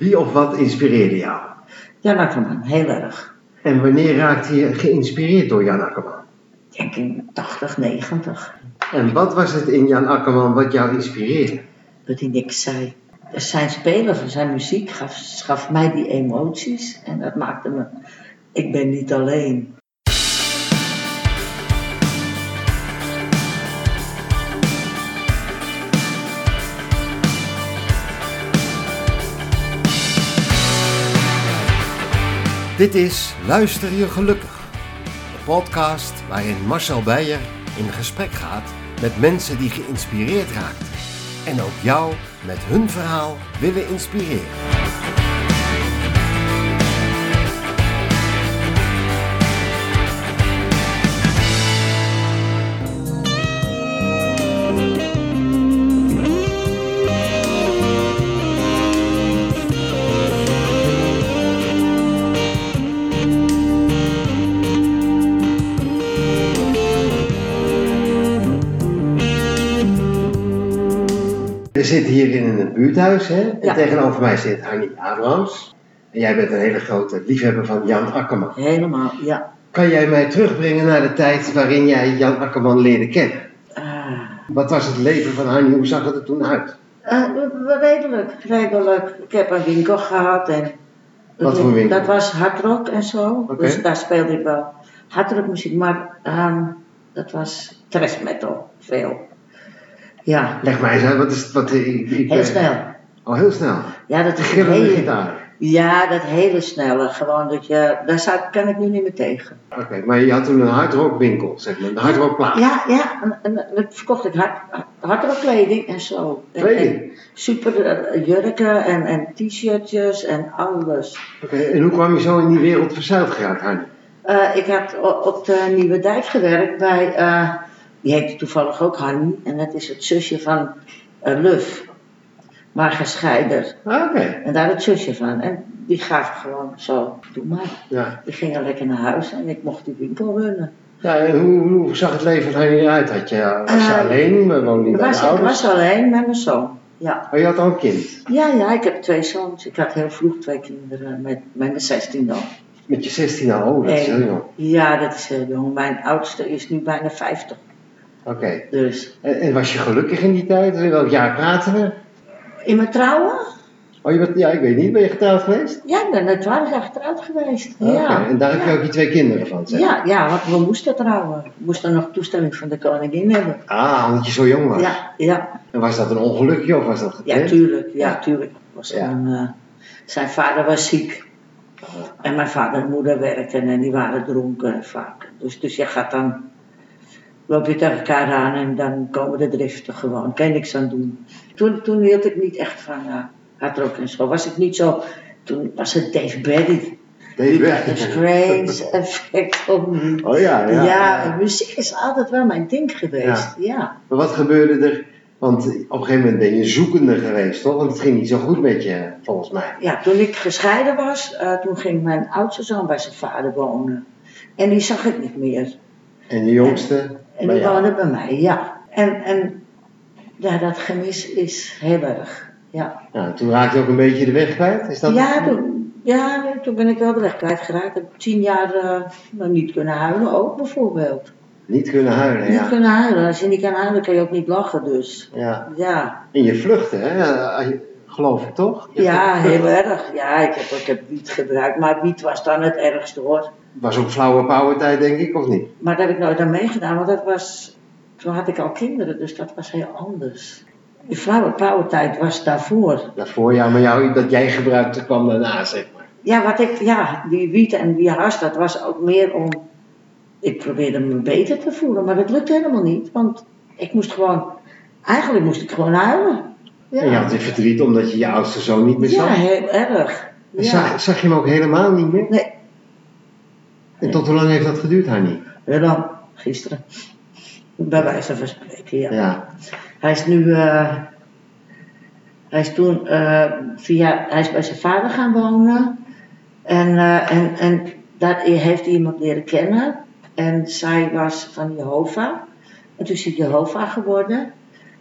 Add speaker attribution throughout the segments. Speaker 1: Wie of wat inspireerde jou?
Speaker 2: Jan Akkerman, heel erg.
Speaker 1: En wanneer raakte je geïnspireerd door Jan Akkerman?
Speaker 2: Ik denk in 80, 90.
Speaker 1: En wat was het in Jan Akkerman wat jou inspireerde?
Speaker 2: Dat hij niks zei. Dus Zijn spelen van zijn muziek gaf, gaf mij die emoties. En dat maakte me... Ik ben niet alleen.
Speaker 1: Dit is Luister je gelukkig. De podcast waarin Marcel Beijer in gesprek gaat met mensen die geïnspireerd raakten. En ook jou met hun verhaal willen inspireren. We zitten hier in een buurthuis hè? en
Speaker 2: Ja.
Speaker 1: tegenover mij zit Hanni Abrams. En jij bent een hele grote liefhebber van Jan Akkerman.
Speaker 2: Helemaal, ja.
Speaker 1: Kan jij mij terugbrengen naar de tijd waarin jij Jan Akkerman leerde kennen?
Speaker 2: Ah.
Speaker 1: Wat was het leven van Hanni? Hoe zag het er toen uit?
Speaker 2: Eh, redelijk, redelijk. Ik heb een winkel gehad en...
Speaker 1: Wat voor winkel?
Speaker 2: Dat was hardrock en zo.
Speaker 1: Oké.
Speaker 2: Dus daar speelde ik wel hardrockmuziek, maar ehm, dat was thrash metal, veel. Ja,
Speaker 1: Leg mij eens uit, wat is het? Wat, ik, ik,
Speaker 2: heel
Speaker 1: eh,
Speaker 2: snel.
Speaker 1: Al heel snel.
Speaker 2: Ja, dat is
Speaker 1: Gillende
Speaker 2: heel,
Speaker 1: gitaar.
Speaker 2: ja, dat hele snelle. Gewoon dat je, daar zat, kan ik nu niet meer tegen.
Speaker 1: Oké, maar je had toen een hardrockwinkel, zeg maar. Een hardrockplaat.
Speaker 2: Ja, ja, en, en dat verkocht ik hard, hardrockkleding en zo. En-
Speaker 1: Kleding?
Speaker 2: en super eh, jurken en, en t-shirtjes en alles.
Speaker 1: Oké, en hoe kwam je zo in die wereld verzeild geraakt, Hanni?
Speaker 2: Eh, ik had o- op de Nieuwe Dijk gewerkt bij, eh, die heette toevallig ook Hanny, en dat is het zusje van eh, Luf, Marga Scheider.
Speaker 1: Ah, Oké,
Speaker 2: En daar het zusje van. En die gaf gewoon zo, doe maar.
Speaker 1: ja.
Speaker 2: Die gingen lekker naar huis en ik mocht die winkel runnen.
Speaker 1: ja. En hoe, hoe zag het leven van Hanni eruit? Had je, was je
Speaker 2: Eh,
Speaker 1: alleen? We woonden
Speaker 2: Ik
Speaker 1: niet bij
Speaker 2: was,
Speaker 1: de
Speaker 2: ik
Speaker 1: ouders?
Speaker 2: was alleen met mijn zoon. Ja.
Speaker 1: Oh, je had al een kind.
Speaker 2: ja, ja, ik heb twee zoons. Ik had heel vroeg twee kinderen, met, met mijn 16 al.
Speaker 1: Met je 16 al, oh, dat is
Speaker 2: En-
Speaker 1: heel jong. Oké.
Speaker 2: Ja, dat is heel jong. Mijn oudste is nu bijna 50. Dus,
Speaker 1: En, en was je gelukkig in die tijd? In welk jaar praten we?
Speaker 2: in mijn trouwen?
Speaker 1: Oh, je bent, ja, ik weet niet, ben je getrouwd geweest?
Speaker 2: Ja, ik ben er twaalf jaar getrouwd geweest.
Speaker 1: Oké,
Speaker 2: ja.
Speaker 1: En daar heb je
Speaker 2: ja.
Speaker 1: ook je twee kinderen van, zeg?
Speaker 2: Ja, ja, want we moesten trouwen. We moesten nog toestemming van de koningin hebben.
Speaker 1: Ah, omdat je zo jong was.
Speaker 2: Ja, ja.
Speaker 1: En was dat een ongelukje of was dat
Speaker 2: ja
Speaker 1: gepland?
Speaker 2: tuurlijk. Ja, tuurlijk. Was
Speaker 1: Ja.
Speaker 2: gewoon, eh, zijn vader was ziek.
Speaker 1: Ah,
Speaker 2: En mijn vader en moeder werkten en die waren dronken vaak. Dus, dus je gaat dan, loop je tegen elkaar aan en dan komen de driften gewoon. Kan je niks aan doen. Toen, toen hield ik niet echt van eh hardrock en zo. Was ik niet zo, toen was het Dave Berry.
Speaker 1: Deed
Speaker 2: Ja,
Speaker 1: weg.
Speaker 2: een strange effect op me.
Speaker 1: Oh ja, ja.
Speaker 2: Ja, muziek is altijd wel mijn ding geweest. Ja.
Speaker 1: Maar wat gebeurde er? Want op een gegeven moment ben je zoekende geweest, toch? Want het ging niet zo goed met je, volgens mij.
Speaker 2: ja. toen ik gescheiden was, eh, toen ging mijn oudste zoon bij zijn vader wonen. En die zag ik niet meer.
Speaker 1: En de jongste?
Speaker 2: En
Speaker 1: bij
Speaker 2: die
Speaker 1: jou.
Speaker 2: woonde bij mij, ja. En, en ja, dat gemis is heel erg. Ja,
Speaker 1: Nou, toen raakte je ook een beetje de weg kwijt? Is dat
Speaker 2: ja, toen, ja toen ben ik wel de weg kwijtgeraakt. Ik heb tien jaar eh, nog niet kunnen huilen ook, bijvoorbeeld.
Speaker 1: Niet kunnen huilen,
Speaker 2: Niet
Speaker 1: ja.
Speaker 2: kunnen huilen. Als je niet kan huilen, kan je ook niet lachen, dus.
Speaker 1: ja.
Speaker 2: Ja.
Speaker 1: En je vluchtte, hè? Eh, eh, Geloof ik, toch? Je
Speaker 2: Ja,
Speaker 1: vluchtte.
Speaker 2: heel erg. Ja, ik heb, ik heb wiet gebruikt, maar wiet was dan het ergste hoor.
Speaker 1: Was ook flauwe power tijd, denk ik, of niet?
Speaker 2: Maar daar heb ik nooit aan meegedaan, want dat was, toen had ik al kinderen, dus dat was heel anders. Die flauwe pauwtijd was daarvoor.
Speaker 1: Daarvoor, ja, maar jou, dat jij gebruikte kwam daarna, zeg maar.
Speaker 2: Ja, wat ik, ja, die wiet en die hash, dat was ook meer om, ik probeerde me beter te voelen, maar dat lukte helemaal niet, want ik moest gewoon, eigenlijk moest ik gewoon huilen. Ja,
Speaker 1: En je had weer verdriet omdat je je oudste zoon niet meer
Speaker 2: ja
Speaker 1: zag.
Speaker 2: heel erg.
Speaker 1: En
Speaker 2: Ja.
Speaker 1: Zag, zag je hem ook helemaal niet meer?
Speaker 2: Nee.
Speaker 1: En tot hoe lang heeft dat geduurd, Hanni?
Speaker 2: En dan, gisteren, bij wijze van spreken, ja.
Speaker 1: Ja.
Speaker 2: Hij is nu. eh, hij is toen eh, via. Hij is bij zijn vader gaan wonen. En, eh, en, en daar heeft hij iemand leren kennen. En zij was van Jehovah. En toen is hij Jehovah geworden.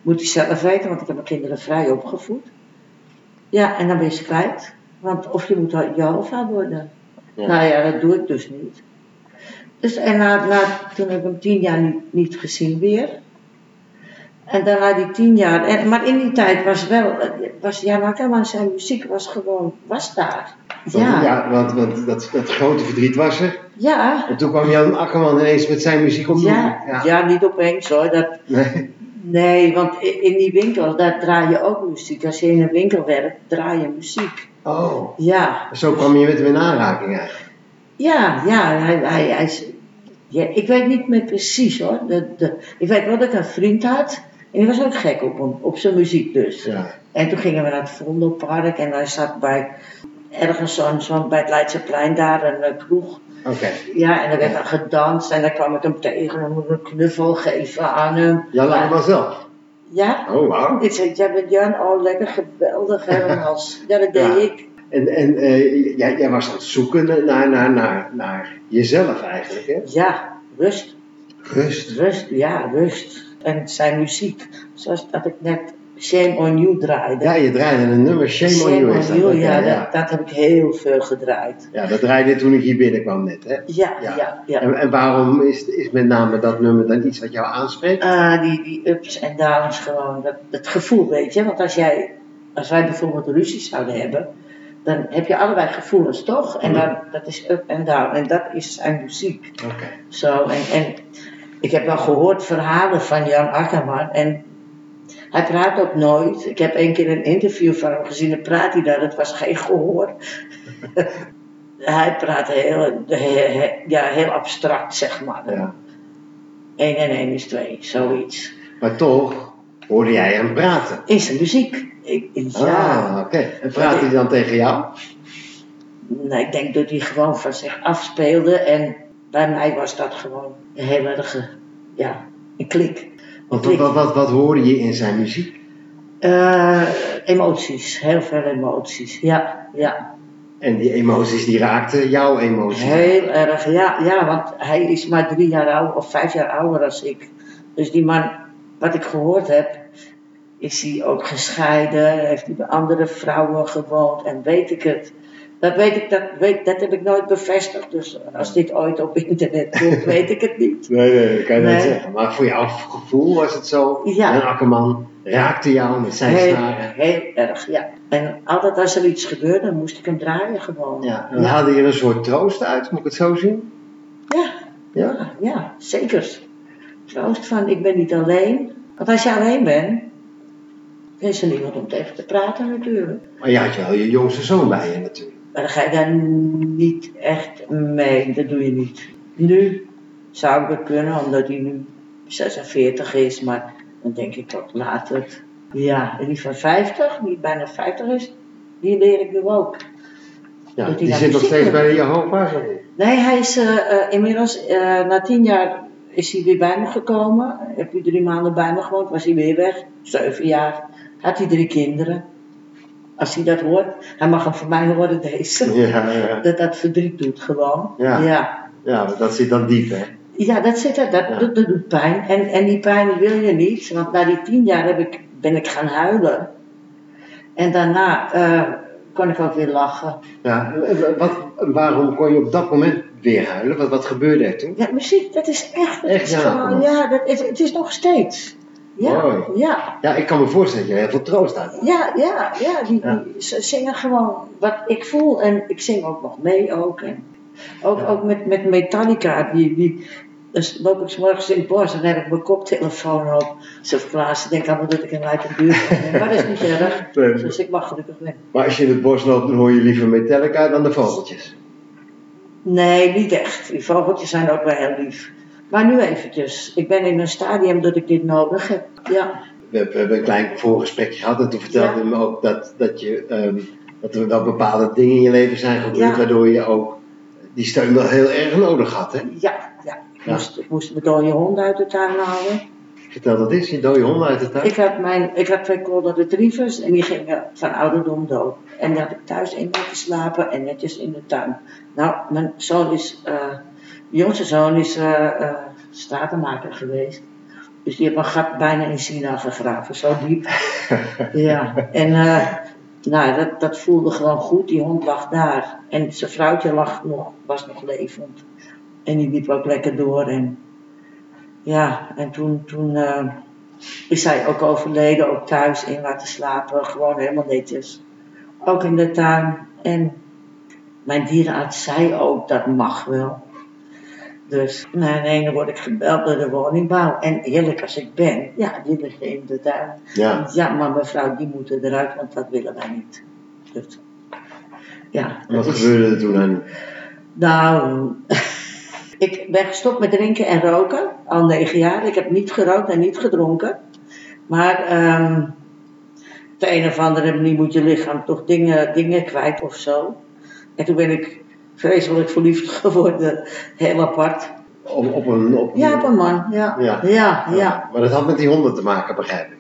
Speaker 2: Moet hij zelf weten, want ik heb mijn kinderen vrij opgevoed. Ja, en dan ben je ze kwijt. Want of je moet Jehovah worden.
Speaker 3: Ja.
Speaker 2: Nou ja, dat doe ik dus niet. Dus en na, na, toen heb ik hem tien jaar niet, niet gezien weer. En daarna die tien jaar. En, maar in die tijd was wel, eh, was Jan Akkerman, zijn muziek was gewoon, was daar.
Speaker 1: Want, ja.
Speaker 2: Ja,
Speaker 1: want, want dat, dat grote verdriet was er.
Speaker 2: ja.
Speaker 1: En toen kwam Jan Akkerman ineens met zijn muziek om.
Speaker 2: Ja, ja, niet opeens hoor. Dat,
Speaker 1: Nee.
Speaker 2: nee, want i- in die winkel, daar draai je ook muziek. Als je in een winkel werkt, draai je muziek.
Speaker 1: Oh,
Speaker 2: Ja.
Speaker 1: zo kwam je met hem in aanraking eigenlijk.
Speaker 2: Ja, ja, hij, hij, hij is- ja, ik weet niet meer precies hoor. De, de, ik weet wel dat ik een vriend had. En die was ook gek op hem, op zijn muziek dus.
Speaker 1: Ja.
Speaker 2: En toen gingen we naar het Vondelpark en hij zat bij, ergens zo'n, zo'n- bij het Leidseplein daar, een eh, kroeg.
Speaker 1: Oké.
Speaker 2: Ja, en er werd dan gedanst en dan kwam ik hem tegen en moest een knuffel geven aan hem.
Speaker 1: Jan Akkerman zelf.
Speaker 2: Ja?
Speaker 1: Oh, wauw.
Speaker 2: Ik zei, jij bent Jan, oh lekker geweldig Hermans. Ja, dat deed
Speaker 1: Ja.
Speaker 2: ik.
Speaker 1: En, en eh, jij, jij was aan het zoeken naar, naar, naar, naar jezelf eigenlijk, hè?
Speaker 2: Ja, rust.
Speaker 1: Rust.
Speaker 2: Rust, ja, rust. En zijn muziek, zoals dat ik net Shame on You draaide.
Speaker 1: Ja, je draaide een nummer, Shame, on You is dat. Oké,
Speaker 2: ja,
Speaker 1: ja.
Speaker 2: Dat, dat heb ik heel veel gedraaid.
Speaker 1: ja, dat draaide je toen ik hier binnenkwam net, hè?
Speaker 2: Ja,
Speaker 1: Ja.
Speaker 2: ja, ja.
Speaker 1: En, en waarom is, is met name dat nummer dan iets wat jou aanspreekt?
Speaker 2: Ah, die, die ups en downs gewoon, dat, dat gevoel, weet je. Want als, jij, als wij bijvoorbeeld ruzie zouden hebben, dan heb je allebei gevoelens, toch? En
Speaker 1: Mhm.
Speaker 2: dan, dat is up en down. En dat is zijn muziek.
Speaker 1: Oké.
Speaker 2: Zo, en, en ik heb wel gehoord verhalen van Jan Akkerman. En hij praat ook nooit. Ik heb één keer een interview van hem gezien. Dan praat hij daar. Het was geen gehoor. hij praat heel, he- he- ja, heel abstract, zeg maar.
Speaker 1: Ja.
Speaker 2: 1 en 1 is 2, zoiets.
Speaker 1: Maar toch hoorde jij hem praten.
Speaker 2: In zijn muziek. Ik, ja.
Speaker 1: Ah, oké. En praat hij dan tegen jou?
Speaker 2: Nou, ik denk dat hij gewoon van zich afspeelde. En bij mij was dat gewoon een heel erg, ja, een klik.
Speaker 1: Want wat, wat, wat, wat hoorde je in zijn muziek?
Speaker 2: Eh, emoties, heel veel emoties. Ja, ja.
Speaker 1: En die emoties die raakten jouw emoties.
Speaker 2: Heel erg, ja, ja, want hij is maar drie jaar ouder of vijf jaar ouder als ik. Dus die man, wat ik gehoord heb, is hij ook gescheiden, heeft hij bij andere vrouwen gewoond en weet ik het. Dat weet ik, dat, weet, dat heb ik nooit bevestigd. Dus als dit ooit op internet komt, weet ik het niet.
Speaker 1: Nee, nee, dat kan je niet
Speaker 2: Nee.
Speaker 1: zeggen. Maar voor jouw gevoel was het zo.
Speaker 2: Ja.
Speaker 1: En Akkerman raakte jou met zijn
Speaker 2: Heel,
Speaker 1: snaren.
Speaker 2: heel erg, ja. En altijd als er iets gebeurde, moest ik hem draaien gewoon.
Speaker 1: Ja. En haalde je er een soort troost uit, moet ik het zo zien?
Speaker 2: ja.
Speaker 1: Ja.
Speaker 2: Ja, ja, zeker. Troost van, ik ben niet alleen. Want als je alleen bent, is er niemand om tegen te praten natuurlijk.
Speaker 1: Maar je had wel je jongste zoon bij je natuurlijk.
Speaker 2: Maar dan ga je daar niet echt mee, dat doe je niet. Nu zou ik dat kunnen, omdat hij nu 46 is, maar dan denk ik toch later. Ja, en die van 50, die bijna 50 is, die leer ik nu ook.
Speaker 1: Ja,
Speaker 2: Moet hij dus
Speaker 1: die
Speaker 2: naar
Speaker 1: zit nog
Speaker 2: muziek
Speaker 1: steeds
Speaker 2: doen?
Speaker 1: bij de Jehovah's. of niet?
Speaker 2: Nee, hij is eh, eh, inmiddels, eh, na tien jaar is hij weer bij me gekomen. Heb hij drie maanden bij me gewoond, was hij weer weg. Zeven jaar. Had hij drie kinderen. Als hij dat hoort, hij mag hem van mij horen deze.
Speaker 1: Ja, ja.
Speaker 2: Dat dat verdriet doet gewoon.
Speaker 1: Ja.
Speaker 2: ja.
Speaker 1: ja, want dat zit dan diep, hè?
Speaker 2: Ja, dat zit er, dat,
Speaker 1: Ja.
Speaker 2: doet- dat doet pijn. En, en die pijn wil je niet, want na die tien jaar heb ik, ben ik gaan huilen. En daarna eh, kon ik ook weer lachen.
Speaker 1: Ja, en wat, waarom kon je op dat moment weer huilen? Wat, wat gebeurde er toen?
Speaker 2: Ja, muziek, dat is echt. dat
Speaker 1: Echt,
Speaker 2: is
Speaker 1: ja,
Speaker 2: gewoon,
Speaker 1: klopt.
Speaker 2: ja dat is, het is nog steeds. Ja,
Speaker 1: Mooi.
Speaker 2: ja,
Speaker 1: Ja, ik kan me voorstellen dat je heel veel troost uit.
Speaker 2: ja, ja, ja, die,
Speaker 1: Ja.
Speaker 2: die- ze zingen gewoon wat ik voel en ik zing ook nog mee ook. En ook,
Speaker 1: Ja.
Speaker 2: ook met, met Metallica, die, die, dus loop ik 's morgens in het bos en heb ik mijn koptelefoon op. Ze verplaatsen, denk allemaal dat ik een uit de buurt ben. Maar dat is niet erg, dus ik mag gelukkig weg.
Speaker 1: Maar als je in het bos loopt, dan hoor je liever Metallica dan de vogeltjes.
Speaker 2: Nee, niet echt. Die vogeltjes zijn ook wel heel lief. Maar nu eventjes. Ik ben in een stadium dat ik dit nodig heb. Ja,
Speaker 1: We, we hebben een klein voorgesprekje gehad en toen vertelde
Speaker 2: Ja.
Speaker 1: je me ook dat, dat, je, ehm, dat er wel bepaalde dingen in je leven zijn gebeurd,
Speaker 2: Ja.
Speaker 1: waardoor je ook die steun wel heel erg nodig had. Hè?
Speaker 2: ja, ja. Ik
Speaker 1: Ja.
Speaker 2: moest, ik moest mijn dode hond uit de tuin halen.
Speaker 1: Vertel dat eens, je dode hond uit de tuin.
Speaker 2: Ik had, mijn, ik had twee golden retrievers en die gingen van ouderdom dood. En die had ik thuis in laten slapen en netjes in de tuin. Nou, mijn zoon is, eh, mijn jongste zoon is eh, eh, stratenmaker geweest. Dus die heeft een gat bijna in China gegraven, zo diep. ja, en eh, Nou, dat, dat voelde gewoon goed. Die hond lag daar. En zijn vrouwtje lag nog, was nog levend. En die liep ook lekker door. En ja, en toen, toen eh, is hij ook overleden, ook thuis in laten slapen. Gewoon helemaal netjes. Ook in de tuin. En mijn dierenarts zei ook, dat mag wel. Dus, nee, nee, dan word ik gebeld door de woningbouw. En eerlijk als ik ben, ja, die liggen in de tuin.
Speaker 1: Ja.
Speaker 2: Ja, maar mevrouw, die moeten eruit, want dat willen wij niet. Dus, ja,
Speaker 1: En wat
Speaker 2: dat is-
Speaker 1: gebeurde er toen dan?
Speaker 2: Nou, ik ben gestopt met drinken en roken, al negen jaar. Ik heb niet gerookt en niet gedronken. Maar ehm op de een of andere manier moet je lichaam toch dingen, dingen kwijt of zo. En toen ben ik vreselijk verliefd geworden, heel apart.
Speaker 1: Op, op een... Op
Speaker 2: Ja, op een man, ja.
Speaker 1: Ja.
Speaker 2: Ja, ja.
Speaker 1: Maar dat had met die honden te maken, begrijp ik.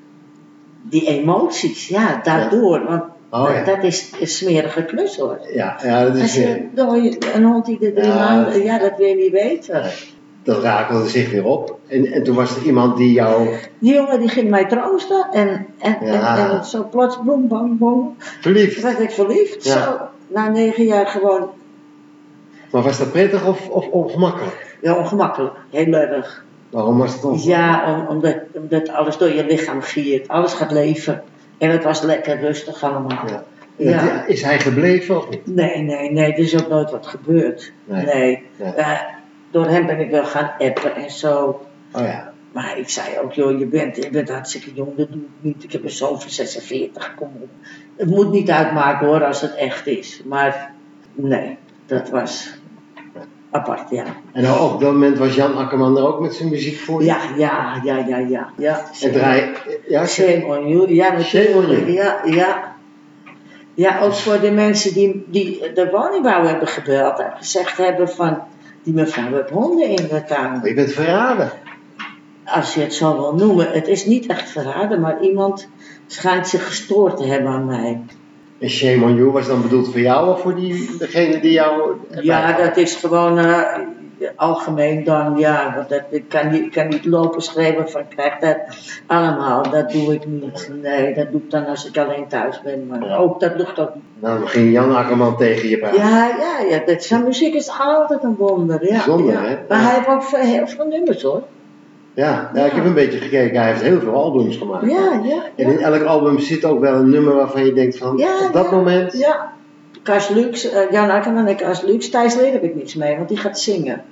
Speaker 2: Die emoties, ja, daardoor. Want
Speaker 1: Oh ja.
Speaker 2: dat is een smerige klus hoor.
Speaker 1: Ja, ja dat
Speaker 2: Als
Speaker 1: is... eh,
Speaker 2: Dus je door je- een hond die de drie
Speaker 1: Ja,
Speaker 2: maanden,
Speaker 1: dat-
Speaker 2: ja, dat wil je niet weten.
Speaker 1: Dat rakelde zich weer op. En, en toen was er iemand die jou
Speaker 2: Die jongen die ging mij troosten en, en, en,
Speaker 1: Ja.
Speaker 2: en zo plots, boem, bang, boem,
Speaker 1: verliefd.
Speaker 2: werd ik verliefd.
Speaker 1: Ja.
Speaker 2: Zo, na negen jaar gewoon
Speaker 1: Maar was dat prettig of, of ongemakkelijk?
Speaker 2: ja, ongemakkelijk, heel erg.
Speaker 1: Waarom was het ongemakkelijk?
Speaker 2: Ja, om- omdat, omdat alles door je lichaam giert, alles gaat leven. En het was lekker rustig allemaal.
Speaker 1: Ja.
Speaker 2: Ja.
Speaker 1: Dat- Is hij gebleven of niet?
Speaker 2: Nee, nee, nee, er is ook nooit wat gebeurd. Nee.
Speaker 1: Nee. Nee.
Speaker 2: Eh, door hem ben ik wel gaan appen en zo.
Speaker 1: Oh ja.
Speaker 2: Maar ik zei ook, joh, je bent, je bent hartstikke jong, dat doe ik niet. Ik heb een zoon van 46, kom op. Het moet niet uitmaken hoor, als het echt is. Maar nee, dat was apart, ja.
Speaker 1: En nou, op dat moment was Jan Akkerman er ook met zijn muziek voor je?
Speaker 2: Ja, ja, ja, ja, ja. ja
Speaker 1: En draai... Ja,
Speaker 2: Shame on you, ja natuurlijk.
Speaker 1: Shame on you.
Speaker 2: Ja, ja. Ja, ook voor de mensen die, die de woningbouw hebben gebeld en gezegd hebben van... Die mevrouw heeft honden in de tuin.
Speaker 1: je bent verraden.
Speaker 2: als je het zo wil noemen, het is niet echt verraden, maar iemand schijnt zich gestoord te hebben aan mij.
Speaker 1: En Shame on You was dan bedoeld voor jou of voor die, degene die jou...
Speaker 2: Ja, dat is gewoon eh, algemeen dan, ja, want dat, ik, kan niet, ik kan niet lopen schrijven van krijg dat allemaal, dat doe ik niet. Nee, dat doe ik dan als ik alleen thuis ben,
Speaker 1: Ja.
Speaker 2: maar ook dat lukt ook niet.
Speaker 1: Nou, Dan ging Jan Akkerman tegen je praten.
Speaker 2: Ja, ja, ja, dat, zijn muziek is altijd een wonder, ja.
Speaker 1: Bijzonder,
Speaker 2: ja.
Speaker 1: hè?
Speaker 2: Maar
Speaker 1: Ja.
Speaker 2: hij heeft ook veel- heel veel nummers hoor.
Speaker 1: Ja, ja, ik heb een beetje gekeken. Hij heeft heel veel albums gemaakt.
Speaker 2: Ja, ja,
Speaker 1: En in
Speaker 2: ja.
Speaker 1: elk album zit ook wel een nummer waarvan je denkt van,
Speaker 2: Ja,
Speaker 1: op dat
Speaker 2: ja.
Speaker 1: moment...
Speaker 2: Ja, Cas Lux, eh, Jan Akkerman en Cas Lux. Thijs Leer heb ik niks mee, want die gaat zingen.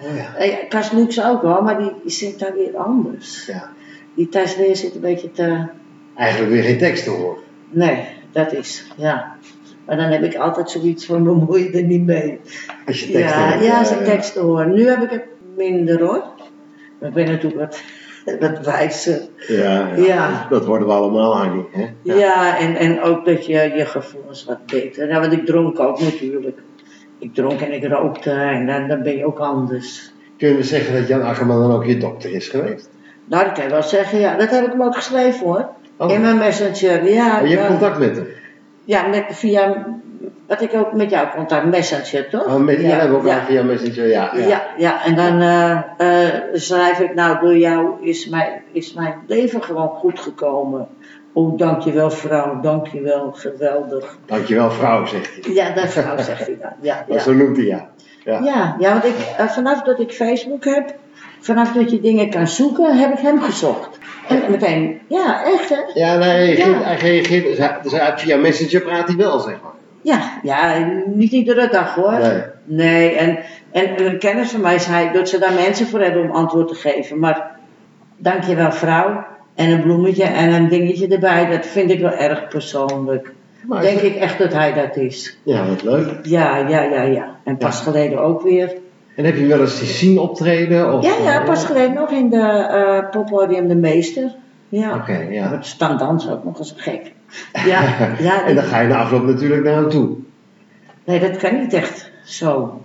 Speaker 1: Oh ja.
Speaker 2: Eh, ja, Cas Lux ook wel, maar die zingt daar weer anders.
Speaker 1: ja.
Speaker 2: Die Thijs Leer zit een beetje te...
Speaker 1: Eigenlijk weer geen tekst te horen.
Speaker 2: Nee, dat is, ja. Maar dan heb ik altijd zoiets van, bemoei je er niet mee.
Speaker 1: Als je tekst
Speaker 2: Ja,
Speaker 1: hoort.
Speaker 2: ja, als ik teksten hoor. Nu heb ik het minder hoor. Maar ik ben natuurlijk wat, wat eh, wijzer.
Speaker 1: Ja, ja.
Speaker 2: Ja.
Speaker 1: dat worden we allemaal, Hanny. Hè?
Speaker 2: Ja, en, en ook dat je je gevoelens wat beter. Ja, want ik dronk ook natuurlijk. Ik dronk en ik rookte en dan, dan ben je ook anders.
Speaker 1: Kunnen we zeggen dat Jan Akkerman dan ook je dokter is geweest?
Speaker 2: Nou, dat kan je wel zeggen, ja. Dat heb ik hem ook geschreven hoor.
Speaker 1: Oh,
Speaker 2: In mijn messenger, ja.
Speaker 1: oh, je hebt
Speaker 2: ja.
Speaker 1: contact met hem.
Speaker 2: Ja, met, via, wat ik ook met jou contact, messenger toch?
Speaker 1: Oh, met, ja,
Speaker 2: ja,
Speaker 1: hebben we ook
Speaker 2: ja.
Speaker 1: al via Messenger, ja.
Speaker 2: Ja, ja, en dan eh, eh, schrijf ik, nou door jou is mijn, is mijn leven gewoon goed gekomen. Oh, dankjewel vrouw, dankjewel, geweldig.
Speaker 1: Dankjewel vrouw, zegt hij.
Speaker 2: Ja, dat vrouw zegt hij dan. Ja,
Speaker 1: Maar
Speaker 2: ja.
Speaker 1: Oh, Zo noemt hij ja. Ja.
Speaker 2: Ja, ja want ik, eh, vanaf dat ik Facebook heb, vanaf dat je dingen kan zoeken, heb ik hem gezocht. En meteen, ja, echt hè?
Speaker 1: Ja, nee, hij reageert,
Speaker 2: Ja.
Speaker 1: hij reageert- dus hij- dus hij- via Messenger praat hij wel, zeg maar.
Speaker 2: Ja, ja, niet iedere dag hoor.
Speaker 1: Nee.
Speaker 2: Nee, en, en een kennis van mij zei dat ze daar mensen voor hebben om antwoord te geven. Maar dankjewel vrouw, en een bloemetje en een dingetje erbij, dat vind ik wel erg persoonlijk.
Speaker 1: Maar
Speaker 2: Denk ik echt dat hij dat is.
Speaker 1: Ja, wat leuk.
Speaker 2: Ja, ja, ja, ja. En pas
Speaker 1: Ja.
Speaker 2: geleden ook weer.
Speaker 1: En heb je hem wel eens die zien optreden? Of,
Speaker 2: Ja, ja,
Speaker 1: eh,
Speaker 2: pas geleden nog in de eh poppodium De Meester. Ja.
Speaker 1: Oké, ja.
Speaker 2: Het staan dansen ook nog eens gek. Ja, ja
Speaker 1: en dan ga je na afloop natuurlijk naar hem toe.
Speaker 2: nee, dat kan niet echt zo.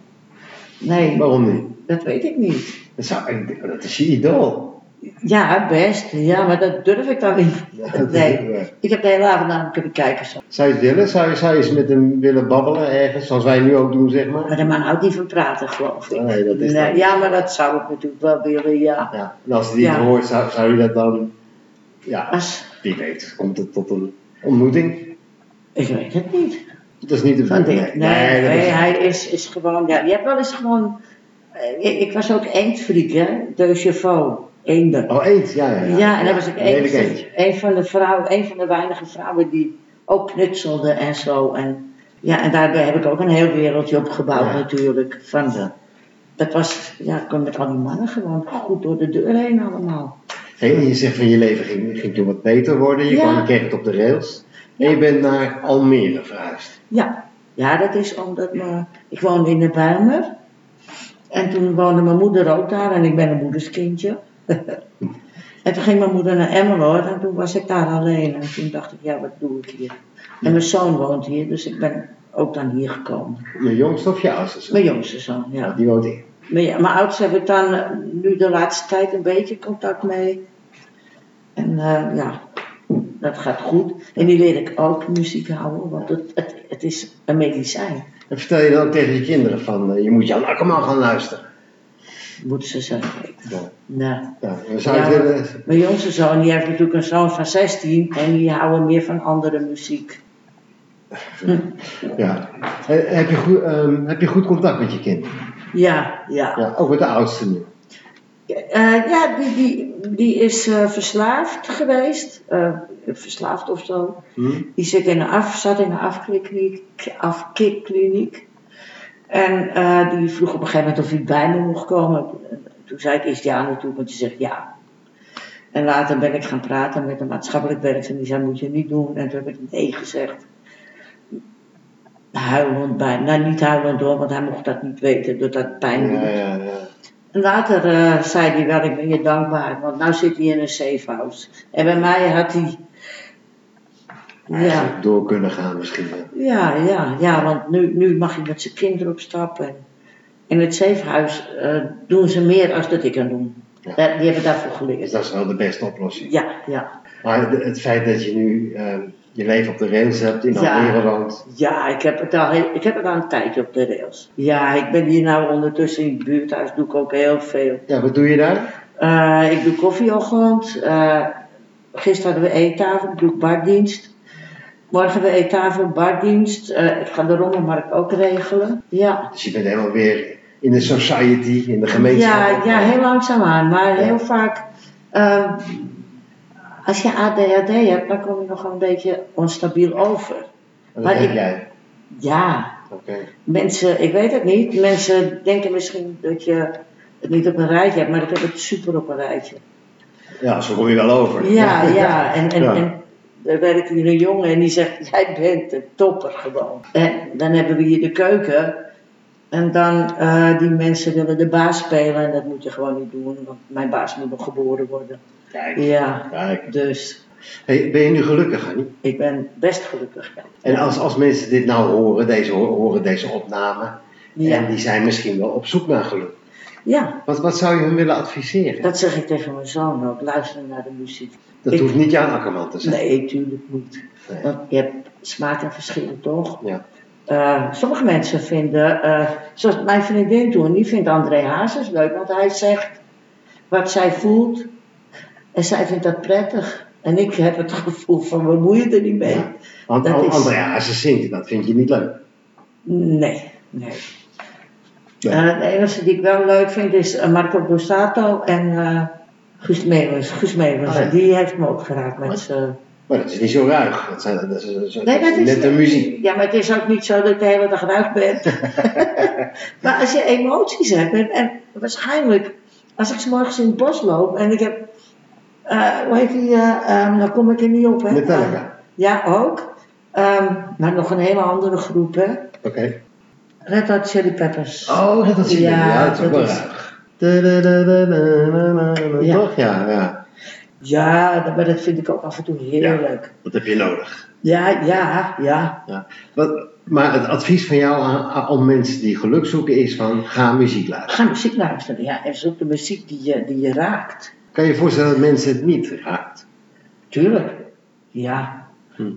Speaker 2: Nee,
Speaker 1: Waarom niet?
Speaker 2: dat weet ik niet.
Speaker 1: Dat, zou, ik- oh, dat is je idool.
Speaker 2: Ja, best. Ja, maar dat durf ik dan niet. Nee, ik heb de hele avond naar hem kunnen kijken. Zo.
Speaker 1: Zou je het willen? Zou je, zou je eens met hem willen babbelen ergens, zoals wij nu ook doen, zeg maar?
Speaker 2: Maar de man houdt niet van praten, geloof ik.
Speaker 1: Nee, dat is
Speaker 2: Nee,
Speaker 1: dat.
Speaker 2: ja, maar dat zou ik natuurlijk wel willen, ja.
Speaker 1: Ja. En als hij het
Speaker 2: Ja.
Speaker 1: hoort, zou, zou je dat dan... Ja,
Speaker 2: Als,
Speaker 1: wie weet, komt het tot een ontmoeting?
Speaker 2: Ik weet het niet.
Speaker 1: Dat is niet de
Speaker 2: Van
Speaker 1: bedoeling.
Speaker 2: dit. Nee, nee,
Speaker 1: dat is-
Speaker 2: hij is, is gewoon. Ja, je hebt wel eens gewoon. eh, ik, ik was ook eendfriek, hè? De chauffeur, eenden.
Speaker 1: Oh, eend, ja, ja.
Speaker 2: Ja, en daar was ik
Speaker 1: Een
Speaker 2: een,
Speaker 1: lelijk eentje.
Speaker 2: een van de vrouwen, een van de weinige vrouwen die ook knutselde en zo. En, ja, en daarbij heb ik ook een heel wereldje opgebouwd
Speaker 1: Ja.
Speaker 2: natuurlijk. Van de, dat was, ja, ik kon met al die mannen gewoon goed door de deur heen allemaal.
Speaker 1: Hey, en je zegt van je leven ging, ging toen wat beter worden. Je
Speaker 2: Ja.
Speaker 1: kwam kreeg het op de rails. En je bent naar Almere verhuisd.
Speaker 2: Ja, ja dat is omdat me, ik woonde in de Bijlmer. En toen woonde mijn moeder ook daar en ik ben een moederskindje. en toen ging mijn moeder naar Emmeloord en toen was ik daar alleen. En toen dacht ik, ja, wat doe ik hier? En mijn zoon woont hier, dus ik ben ook dan hier gekomen.
Speaker 1: Je jongste of je oudste zoon?
Speaker 2: Mijn jongste zoon, ja.
Speaker 1: Die woont in.
Speaker 2: Maar ja, mijn oudste heb ik dan eh, nu de laatste tijd een beetje contact mee. En eh, ja, dat gaat goed. En die leer ik ook muziek houden, want het, het, het is een medicijn.
Speaker 1: En vertel je dan ook tegen je kinderen van, eh, je moet Jan Akkerman gaan luisteren.
Speaker 2: Moeten ze zelf weten.
Speaker 1: Ja.
Speaker 2: Nee.
Speaker 1: Ja, we zouden
Speaker 2: Ja,
Speaker 1: willen-
Speaker 2: Mijn jongste zoon die heeft natuurlijk een zoon van 16 en die houden meer van andere muziek.
Speaker 1: ja. Eh, Heb, je goed, ehm, heb je goed contact met je kinderen?
Speaker 2: Ja, ja.
Speaker 1: Ja, ook met de oudste nu.
Speaker 2: Eh, ja, die, die, die is eh, verslaafd geweest. Eh, verslaafd of zo.
Speaker 1: Hm?
Speaker 2: Die zit in een af, zat in een afkikkliniek. afkikkliniek. En eh, die vroeg op een gegeven moment of hij bij me mocht komen. Toen zei ik eerst ja natuurlijk, want je zegt ja. En later ben ik gaan praten met een maatschappelijk werker. En die zei, moet je niet doen. En toen heb ik nee gezegd. Huilend bij. Nou, niet huilend door, want hij mocht dat niet weten. Dat dat pijn doet.
Speaker 1: Ja, ja, ja.
Speaker 2: En Later eh, zei hij wel, ik ben je dankbaar, want nu zit hij in een safe house. En bij mij had hij... Ja,
Speaker 1: Eigenlijk Door kunnen gaan misschien. ja.
Speaker 2: ja, ja, ja, want nu, nu mag hij met zijn kinderen op stap. En in het safehuis eh, doen ze meer als dat ik kan doen.
Speaker 1: Ja.
Speaker 2: Daar- die hebben daarvoor
Speaker 1: Dus
Speaker 2: geleerd.
Speaker 1: dat is wel de beste oplossing.
Speaker 2: Ja, ja.
Speaker 1: Maar de- het feit dat je nu ehm, je leven op de rails hebt in
Speaker 2: Ja.
Speaker 1: Almere woont.
Speaker 2: Ja, ik heb, het al, heel- ik heb het al een tijdje op de rails. Ja, ik ben hier nou ondertussen in het buurthuis, doe ik ook heel veel.
Speaker 1: Ja, wat doe je daar?
Speaker 2: Eh, ik doe koffieochtend. Eh gisteren hadden we eettafel, ik doe bardienst. Morgen hebben we eettafel, bardienst. Eh, ik ga de rommelmarkt ook regelen. Ja,
Speaker 1: Dus je bent helemaal weer in de society, in de
Speaker 2: ja,
Speaker 1: gemeenschap.
Speaker 2: ja heel langzaamaan. Maar
Speaker 1: Ja.
Speaker 2: heel vaak, eh, als je ADHD hebt, dan kom je nog wel een beetje onstabiel over.
Speaker 1: Dat
Speaker 2: maar
Speaker 1: heb
Speaker 2: ik-
Speaker 1: jij.
Speaker 2: Ja,
Speaker 1: Oké.
Speaker 2: mensen, ik weet het niet. Mensen denken misschien dat je het niet op een rijtje hebt, maar ik heb het super op een rijtje.
Speaker 1: Ja, zo kom je wel over.
Speaker 2: Ja, ja. En, en,
Speaker 1: Ja.
Speaker 2: en er werkt hier een jongen en die zegt, jij bent een topper gewoon. En dan hebben we hier de keuken. En dan, eh, die mensen willen de baas spelen en dat moet je gewoon niet doen. Want mijn baas moet nog geboren worden.
Speaker 1: Kijk,
Speaker 2: Ja,
Speaker 1: kijk.
Speaker 2: dus
Speaker 1: Hey, ben je nu gelukkig, Annie?
Speaker 2: ik ben best gelukkig. ja.
Speaker 1: En als, als mensen dit nou horen, deze, horen deze opname, en
Speaker 2: Ja,
Speaker 1: die zijn misschien wel op zoek naar geluk.
Speaker 2: ja,
Speaker 1: Wat, wat zou je hun willen adviseren?
Speaker 2: dat zeg ik tegen mijn zoon ook. Luister naar de muziek.
Speaker 1: Dat
Speaker 2: Ik-
Speaker 1: hoeft niet Jan Akkerman te zijn.
Speaker 2: Nee, tuurlijk niet.
Speaker 1: Nee.
Speaker 2: Want je hebt smaak en verschillen toch?
Speaker 1: Ja.
Speaker 2: Eh, sommige mensen vinden, eh, zoals mijn vriendin toen, die vindt André Hazes leuk, want hij zegt wat zij voelt en zij vindt dat prettig. En ik heb het gevoel van, we moeien er niet mee.
Speaker 1: Ja. Want
Speaker 2: Dat is-
Speaker 1: André Hazes zingt, dat vind je niet leuk.
Speaker 2: Nee, nee.
Speaker 1: Nee.
Speaker 2: Eh, de enige die ik wel leuk vind is eh, Marco Borsato en eh Guus Meeuwens. Guus Meeuwens,
Speaker 1: Oh ja.
Speaker 2: die heeft me ook geraakt
Speaker 1: Wat?
Speaker 2: met zijn...
Speaker 1: Maar dat is niet zo ruig. Dat, zijn, dat is, dat is-
Speaker 2: Nee, dat is
Speaker 1: net de muziek.
Speaker 2: Ja, maar het is ook niet zo dat ik de hele dag ruig ben. maar als je emoties hebt, en, en waarschijnlijk, als ik 's morgens in het bos loop en ik heb, eh, hoe heet die, eh, ehm, dan kom ik er niet op, hè?
Speaker 1: Metallica.
Speaker 2: ja, ook. Ehm, maar nog een hele andere groep, hè?
Speaker 1: Oké.
Speaker 2: Red Hot Chili Peppers.
Speaker 1: Oh, dat is
Speaker 2: Ja,
Speaker 1: ja, dat is ook wel
Speaker 2: dat is-
Speaker 1: ruig. Da, da, da, da, da, da, da, da.
Speaker 2: Ja.
Speaker 1: Toch? Ja, ja.
Speaker 2: Ja, dat- maar dat vind ik ook af en toe heerlijk.
Speaker 1: Dat heb je nodig.
Speaker 2: Ja, ja, ja.
Speaker 1: Wat, maar het advies van jou aan, aan om mensen die geluk zoeken is van ga muziek luisteren.
Speaker 2: Ga muziek luisteren, ja. En zoek de muziek die je, die je raakt.
Speaker 1: Kan je je voorstellen dat mensen het niet raakt?
Speaker 2: Tuurlijk. Ja.
Speaker 1: Hm.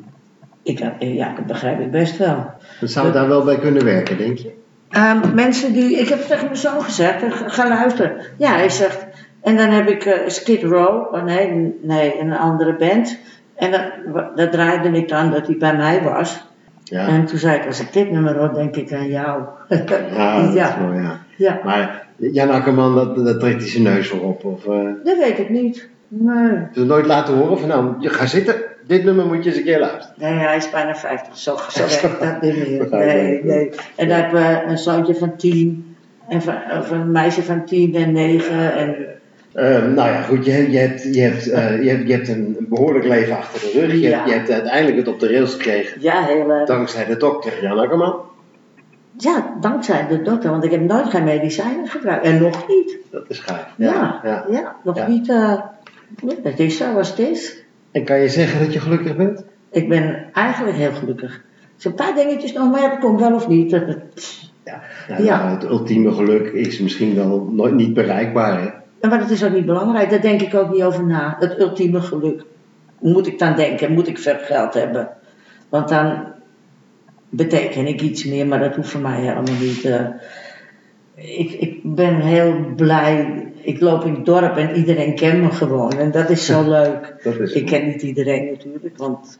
Speaker 2: Ik, heb- ja, dat begrijp ik best wel.
Speaker 1: Dan zou het daar wel bij kunnen werken, denk je?
Speaker 2: Ehm, mensen die, ik heb het tegen mijn zoon gezegd, eh, ga, ga luisteren. Ja, hij zegt, en dan heb ik eh, Skid Row, oh nee, nee, een andere band. En dat, dat draaide ik dan dat hij bij mij was.
Speaker 1: Ja,
Speaker 2: En toen zei ik, als ik dit nummer hoor, denk ik aan jou.
Speaker 1: ja, dat is
Speaker 2: ja,
Speaker 1: mooi, ja.
Speaker 2: ja.
Speaker 1: Maar Jan Akkerman, dat, dat trekt hij zijn neus voor op. Of, eh
Speaker 2: dat weet ik niet. Nee.
Speaker 1: dus nooit laten horen van nou, je ga zitten. Dit nummer moet je eens een keer luisteren.
Speaker 2: Nee, hij is bijna 50, zo, zo werkt dat niet meer. Nee, nee. En dan hebben we een zoontje van 10, en van, of een meisje van 10 en 9. En,
Speaker 1: Eh, nou ja, goed, je hebt, je, hebt, je, hebt, eh, je, hebt, je hebt een behoorlijk leven achter de rug. Je,
Speaker 2: Ja.
Speaker 1: hebt, je hebt uiteindelijk het op de rails gekregen.
Speaker 2: ja, heel erg.
Speaker 1: Dankzij de dokter Jan Akkerman.
Speaker 2: Ja, dankzij de dokter, want ik heb nooit geen medicijnen gebruikt. En nog niet.
Speaker 1: Dat is gaaf.
Speaker 2: Ja, ja,
Speaker 1: ja.
Speaker 2: nog
Speaker 1: Ja.
Speaker 2: niet. eh, nee, het is zoals het is.
Speaker 1: En kan je zeggen dat je gelukkig bent?
Speaker 2: Ik ben eigenlijk heel gelukkig. Er zijn een paar dingetjes nog, maar ja, dat komt wel of niet.
Speaker 1: Ja. Nou,
Speaker 2: Ja.
Speaker 1: nou, Het ultieme geluk is misschien wel nooit niet bereikbaar. Hè?
Speaker 2: En Maar dat is ook niet belangrijk, daar denk ik ook niet over na. Het ultieme geluk. Moet ik dan denken, moet ik veel geld hebben? Want dan beteken ik iets meer, maar dat hoeft voor mij helemaal niet. eh. ik, ik ben heel blij. Ik loop in het dorp en iedereen kent me gewoon. En dat is zo leuk.
Speaker 1: Dat is
Speaker 2: Ik ken niet iedereen natuurlijk, want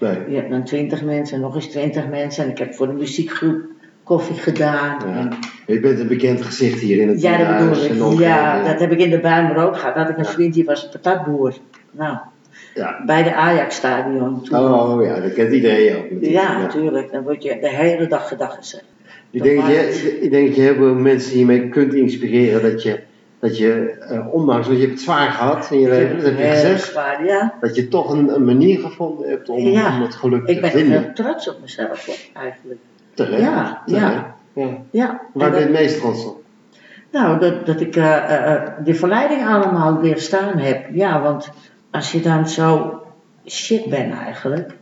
Speaker 1: Nee.
Speaker 2: je hebt dan twintig mensen, nog eens twintig mensen. En ik heb voor de muziekgroep koffie gedaan. En-
Speaker 1: Ja. Je bent een bekend gezicht hier in het
Speaker 2: ja, dat
Speaker 1: Dierhuis en eh,
Speaker 2: bedoel ik.
Speaker 1: omgeving.
Speaker 2: Ja, dat heb ik in de Bijlmer ook gehad. Had ik een vriend die was een patatboer. Nou,
Speaker 1: Ja.
Speaker 2: bij de Ajax-stadion. toen.
Speaker 1: Oh ja, dat kent iedereen ook. natuurlijk.
Speaker 2: ja, natuurlijk. Dan word je de hele dag gedag gezegd.
Speaker 1: Ik denk, dat je, ik denk dat je heel veel mensen hiermee kunt inspireren dat je, dat je eh, ondanks, want je hebt het zwaar gehad in je leven, dat heb je
Speaker 2: Heel
Speaker 1: gezegd,
Speaker 2: zwaar, ja.
Speaker 1: dat je toch een, een manier gevonden hebt om,
Speaker 2: Ja.
Speaker 1: om het geluk
Speaker 2: Ik
Speaker 1: te
Speaker 2: ben
Speaker 1: vinden.
Speaker 2: heel trots op mezelf, hoor, eigenlijk.
Speaker 1: Terecht.
Speaker 2: Ja,
Speaker 1: Terecht.
Speaker 2: ja.
Speaker 1: Ja.
Speaker 2: Ja.
Speaker 1: Waar ben je
Speaker 2: En dat-
Speaker 1: het meest trots op?
Speaker 2: Nou, dat, dat ik eh, eh, eh, die verleiding allemaal weer staan heb. Ja, want als je dan zo shit bent eigenlijk.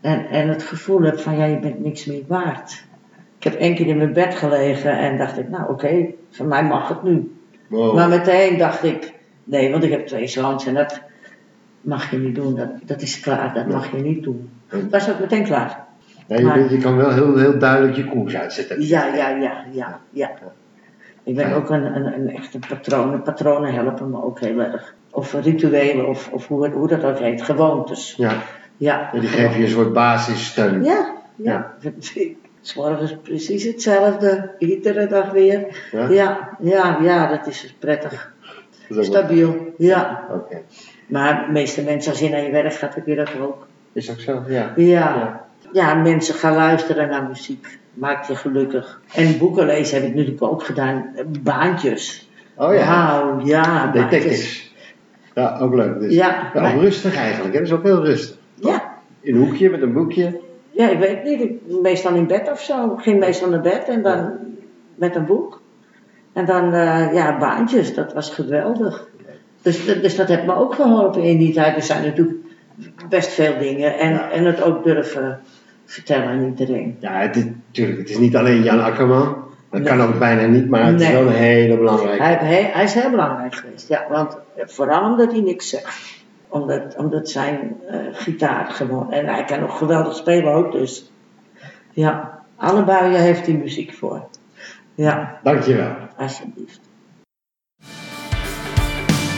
Speaker 2: En, en het gevoel hebt van, ja, je bent niks meer waard. Ik heb één keer in mijn bed gelegen en dacht ik, nou oké, van mij mag het nu.
Speaker 1: Wow.
Speaker 2: Maar meteen dacht ik, nee, want ik heb twee zoons en dat mag je niet doen. Dat, dat is klaar, dat mag je niet doen. Het was ook meteen klaar.
Speaker 1: Ja, je,
Speaker 2: maar-
Speaker 1: bent- je kan wel heel, heel duidelijk je koers uitzetten.
Speaker 2: Ja, ja, ja, ja, ja. Ik ben ook een, een, een echte patroon. Patronen helpen me ook heel erg. Of rituelen, of, of hoe, hoe dat ook heet. Gewoontes.
Speaker 1: Ja.
Speaker 2: Ja.
Speaker 1: En die geven je een soort basissteun.
Speaker 2: Ja, ja. S morgens precies hetzelfde. Iedere dag weer.
Speaker 1: Ja?
Speaker 2: Ja, ja, ja, dat is dus prettig.
Speaker 1: Dat is ook wel-
Speaker 2: Stabiel, ja.
Speaker 1: Oké.
Speaker 2: Maar de meeste mensen, als je naar je werk gaat, heb je dat ook.
Speaker 1: Is ook zo, ja.
Speaker 2: Ja. Ja, mensen gaan luisteren naar muziek. Maakt je gelukkig. En boeken lezen heb ik natuurlijk ook gedaan. Baantjes.
Speaker 1: Oh ja.
Speaker 2: Wauw, ja. baantjes.
Speaker 1: Detectives. Ja, ook leuk. Dus.
Speaker 2: Ja,
Speaker 1: Wel
Speaker 2: maar-
Speaker 1: rustig eigenlijk, hè? Dat is ook heel rustig.
Speaker 2: Ja.
Speaker 1: In een hoekje met een boekje.
Speaker 2: ja, ik weet niet. Ik, meestal in bed of zo. Ik ging meestal naar bed en dan met een boek. En dan, eh, ja, baantjes. Dat was geweldig. Dus, dus dat heeft me ook geholpen in die tijd. Er zijn natuurlijk best veel dingen. En,
Speaker 1: Ja.
Speaker 2: en het ook durven vertellen aan iedereen.
Speaker 1: Ja, het is, tuurlijk, het is niet alleen Jan Akkerman. Dat
Speaker 2: Nee.
Speaker 1: kan ook bijna niet, maar het is
Speaker 2: Nee.
Speaker 1: wel een hele belangrijke.
Speaker 2: Hij, hij, hij is heel belangrijk geweest, ja. Want eh, vooral omdat hij niks zegt. Omdat, omdat zijn eh, gitaar gewoon... En hij kan nog geweldig spelen ook, dus... Ja, alle buien heeft hij muziek voor. Ja,
Speaker 1: Dankjewel.
Speaker 2: alsjeblieft.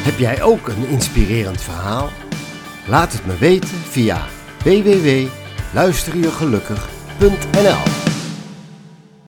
Speaker 4: Heb jij ook een inspirerend verhaal? Laat het me weten via www.luisterjegelukkig.nl